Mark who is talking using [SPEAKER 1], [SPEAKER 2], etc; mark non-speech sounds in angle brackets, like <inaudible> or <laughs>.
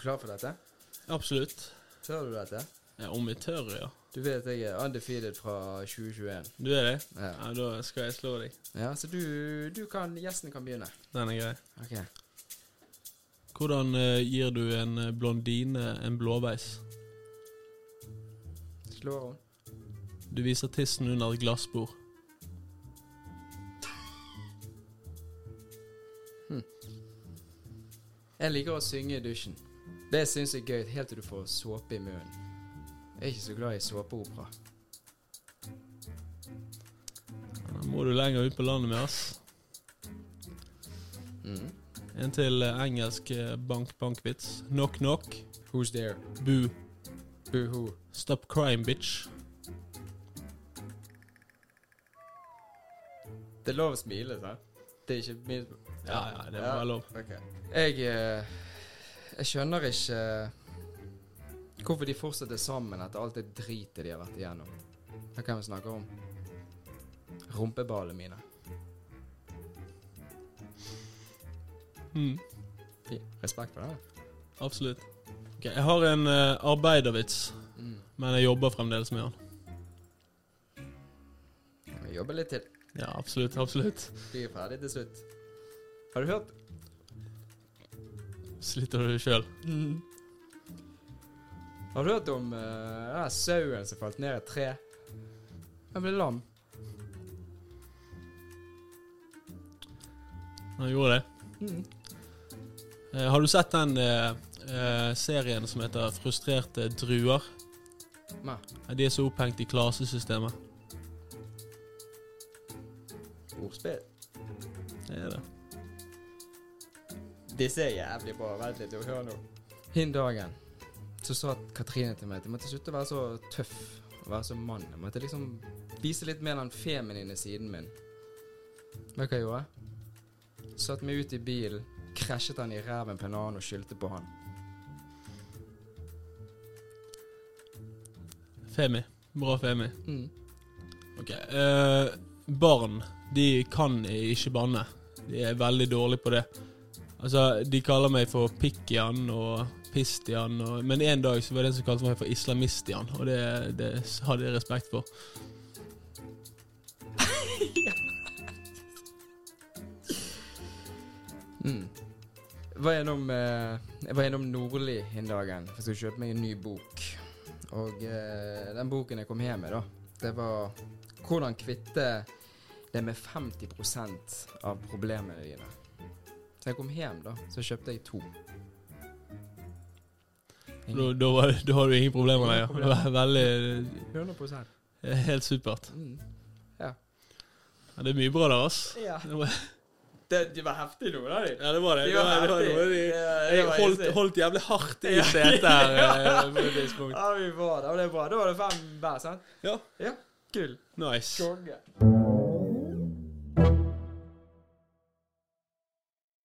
[SPEAKER 1] klar for dette?
[SPEAKER 2] Absolutt.
[SPEAKER 1] Tør du dette?
[SPEAKER 2] Ja, om jeg tør, ja.
[SPEAKER 1] Du vet at jeg er undefeated fra 2021.
[SPEAKER 2] Du er det?
[SPEAKER 1] Ja.
[SPEAKER 2] Ja, da skal jeg slå deg.
[SPEAKER 1] Ja, så du, du kan Gjesten kan begynne.
[SPEAKER 2] Den er grei.
[SPEAKER 1] Ok.
[SPEAKER 2] Hvordan eh, gir du en eh, blondine en blåveis?
[SPEAKER 1] Slår hun?
[SPEAKER 2] Du viser tissen under et glassbord.
[SPEAKER 1] Jeg liker å synge i dusjen. Det syns jeg er gøy helt til du får såpe i munnen. Jeg er ikke så glad i såpeopera.
[SPEAKER 2] Da må du lenger ut på landet med, ass.
[SPEAKER 1] Mm.
[SPEAKER 2] En til eh, engelsk eh, bank-bank-vits. Knock, knock.
[SPEAKER 1] Who's there?
[SPEAKER 2] Boo.
[SPEAKER 1] Boo-hoo.
[SPEAKER 2] Stop crying, bitch.
[SPEAKER 1] Det er lov å smile, sant? Det er ikke min
[SPEAKER 2] Ja, ja, det var lov.
[SPEAKER 1] Ok. Jeg eh, Jeg skjønner ikke eh, hvorfor de fortsetter sammen etter alt det dritet de har vært igjennom. Hva kan vi snakke om? Rumpeballene mine.
[SPEAKER 2] Mm,
[SPEAKER 1] Fy, Respekt for det.
[SPEAKER 2] absolutt. Ok, jeg har en eh, arbeidervits,
[SPEAKER 1] Mm.
[SPEAKER 2] men jeg jobber fremdeles med den.
[SPEAKER 1] Vi jobber litt til.
[SPEAKER 2] Ja, absolutt, absolutt.
[SPEAKER 1] Vi er ferdig til slutt. Har du hørt?
[SPEAKER 2] Sliter du sjøl?
[SPEAKER 1] Mm. Har du hørt om eh, den her sauen som falt ned i et tre? Den ble lam.
[SPEAKER 2] Han gjorde det.
[SPEAKER 1] Mm.
[SPEAKER 2] Eh, har du sett den eh, eh, serien som heter 'Frustrerte druer'?
[SPEAKER 1] Nei.
[SPEAKER 2] Eh, De er så opphengt i klassesystemet.
[SPEAKER 1] Ordspill.
[SPEAKER 2] Det er det.
[SPEAKER 1] Disse er jævlig bra. Vent litt, hør nå. Hin dagen så sa Katrine til meg at jeg måtte slutte å være så tøff og være så mann. Jeg måtte liksom vise litt mer den feminine siden min. Vet du hva jeg gjorde? Satt meg ut i bilen, krasjet han i ræven på en annen og skyldte på han.
[SPEAKER 2] Femi. Bra Femi.
[SPEAKER 1] Mm.
[SPEAKER 2] Ok. eh, barn, de kan ikke banne. De er veldig dårlige på det. Altså, de kaller meg for Pikkian og Pistian, og, men en dag så var det en som kalte meg for Islamistian, og det, det hadde jeg respekt for.
[SPEAKER 1] Mm. Jeg var gjennom, eh, jeg var gjennom Nordli en dagen for jeg skulle kjøpe meg en ny bok. Og eh, den boken jeg kom hjem med, da, det var 'Hvordan kvitte det med 50 av problemene dine'. Så jeg kom hjem, da, så kjøpte jeg to.
[SPEAKER 2] Da, da, var, da har du ingen problemer
[SPEAKER 1] Ingen
[SPEAKER 2] lenger. Ve- Veldig Eh,
[SPEAKER 1] 100
[SPEAKER 2] Helt supert.
[SPEAKER 1] mm.
[SPEAKER 2] Ja, det er mye bra der, ass.
[SPEAKER 1] Ja.
[SPEAKER 2] Det var,
[SPEAKER 1] Det, det var heftig noen av dem.
[SPEAKER 2] ja, det var det.
[SPEAKER 1] De
[SPEAKER 2] Det var,
[SPEAKER 1] var
[SPEAKER 2] det var, det var,
[SPEAKER 1] heftig. Ja, det
[SPEAKER 2] jeg
[SPEAKER 1] var
[SPEAKER 2] holdt,
[SPEAKER 1] heftig.
[SPEAKER 2] holdt jævlig hardt i setet her.
[SPEAKER 1] <laughs>
[SPEAKER 2] eh, på et tidspunkt.
[SPEAKER 1] Ja, vi var der, og det er bra. Da var det fem hver, sant?
[SPEAKER 2] Ja.
[SPEAKER 1] Ja, Gull.
[SPEAKER 2] Nice.
[SPEAKER 1] Konge.